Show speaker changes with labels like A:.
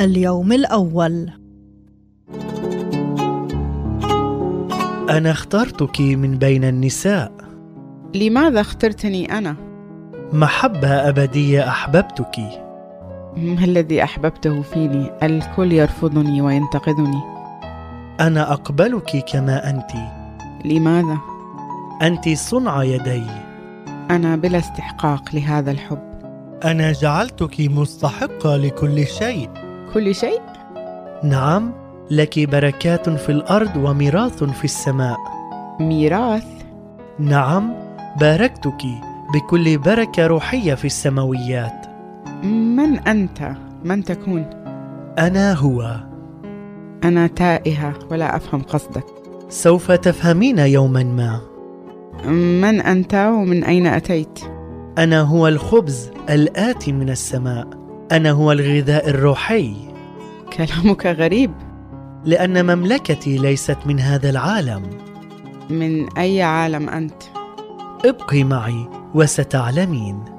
A: اليوم الأول
B: أنا اخترتك من بين النساء
C: لماذا اخترتني أنا؟
B: محبة أبدية أحببتك
C: ما الذي أحببته فيني؟ الكل يرفضني وينتقدني
B: أنا أقبلك كما أنت
C: لماذا؟
B: أنت صنع يدي
C: أنا بلا استحقاق لهذا الحب
B: أنا جعلتك مستحقة لكل شيء
C: كل شيء؟
B: نعم لك بركات في الأرض وميراث في السماء
C: ميراث
B: نعم باركتك بكل بركة روحية في السماويات
C: من أنت؟ من تكون؟
B: أنا هو
C: أنا تائهة ولا أفهم قصدك
B: سوف تفهمين يوما ما
C: من أنت ومن أين أتيت؟
B: أنا هو الخبز الآتي من السماء أنا هو الغذاء الروحي
C: كلامك غريب
B: لأن مملكتي ليست من هذا العالم
C: من أي عالم أنت؟
B: ابقي معي وستعلمين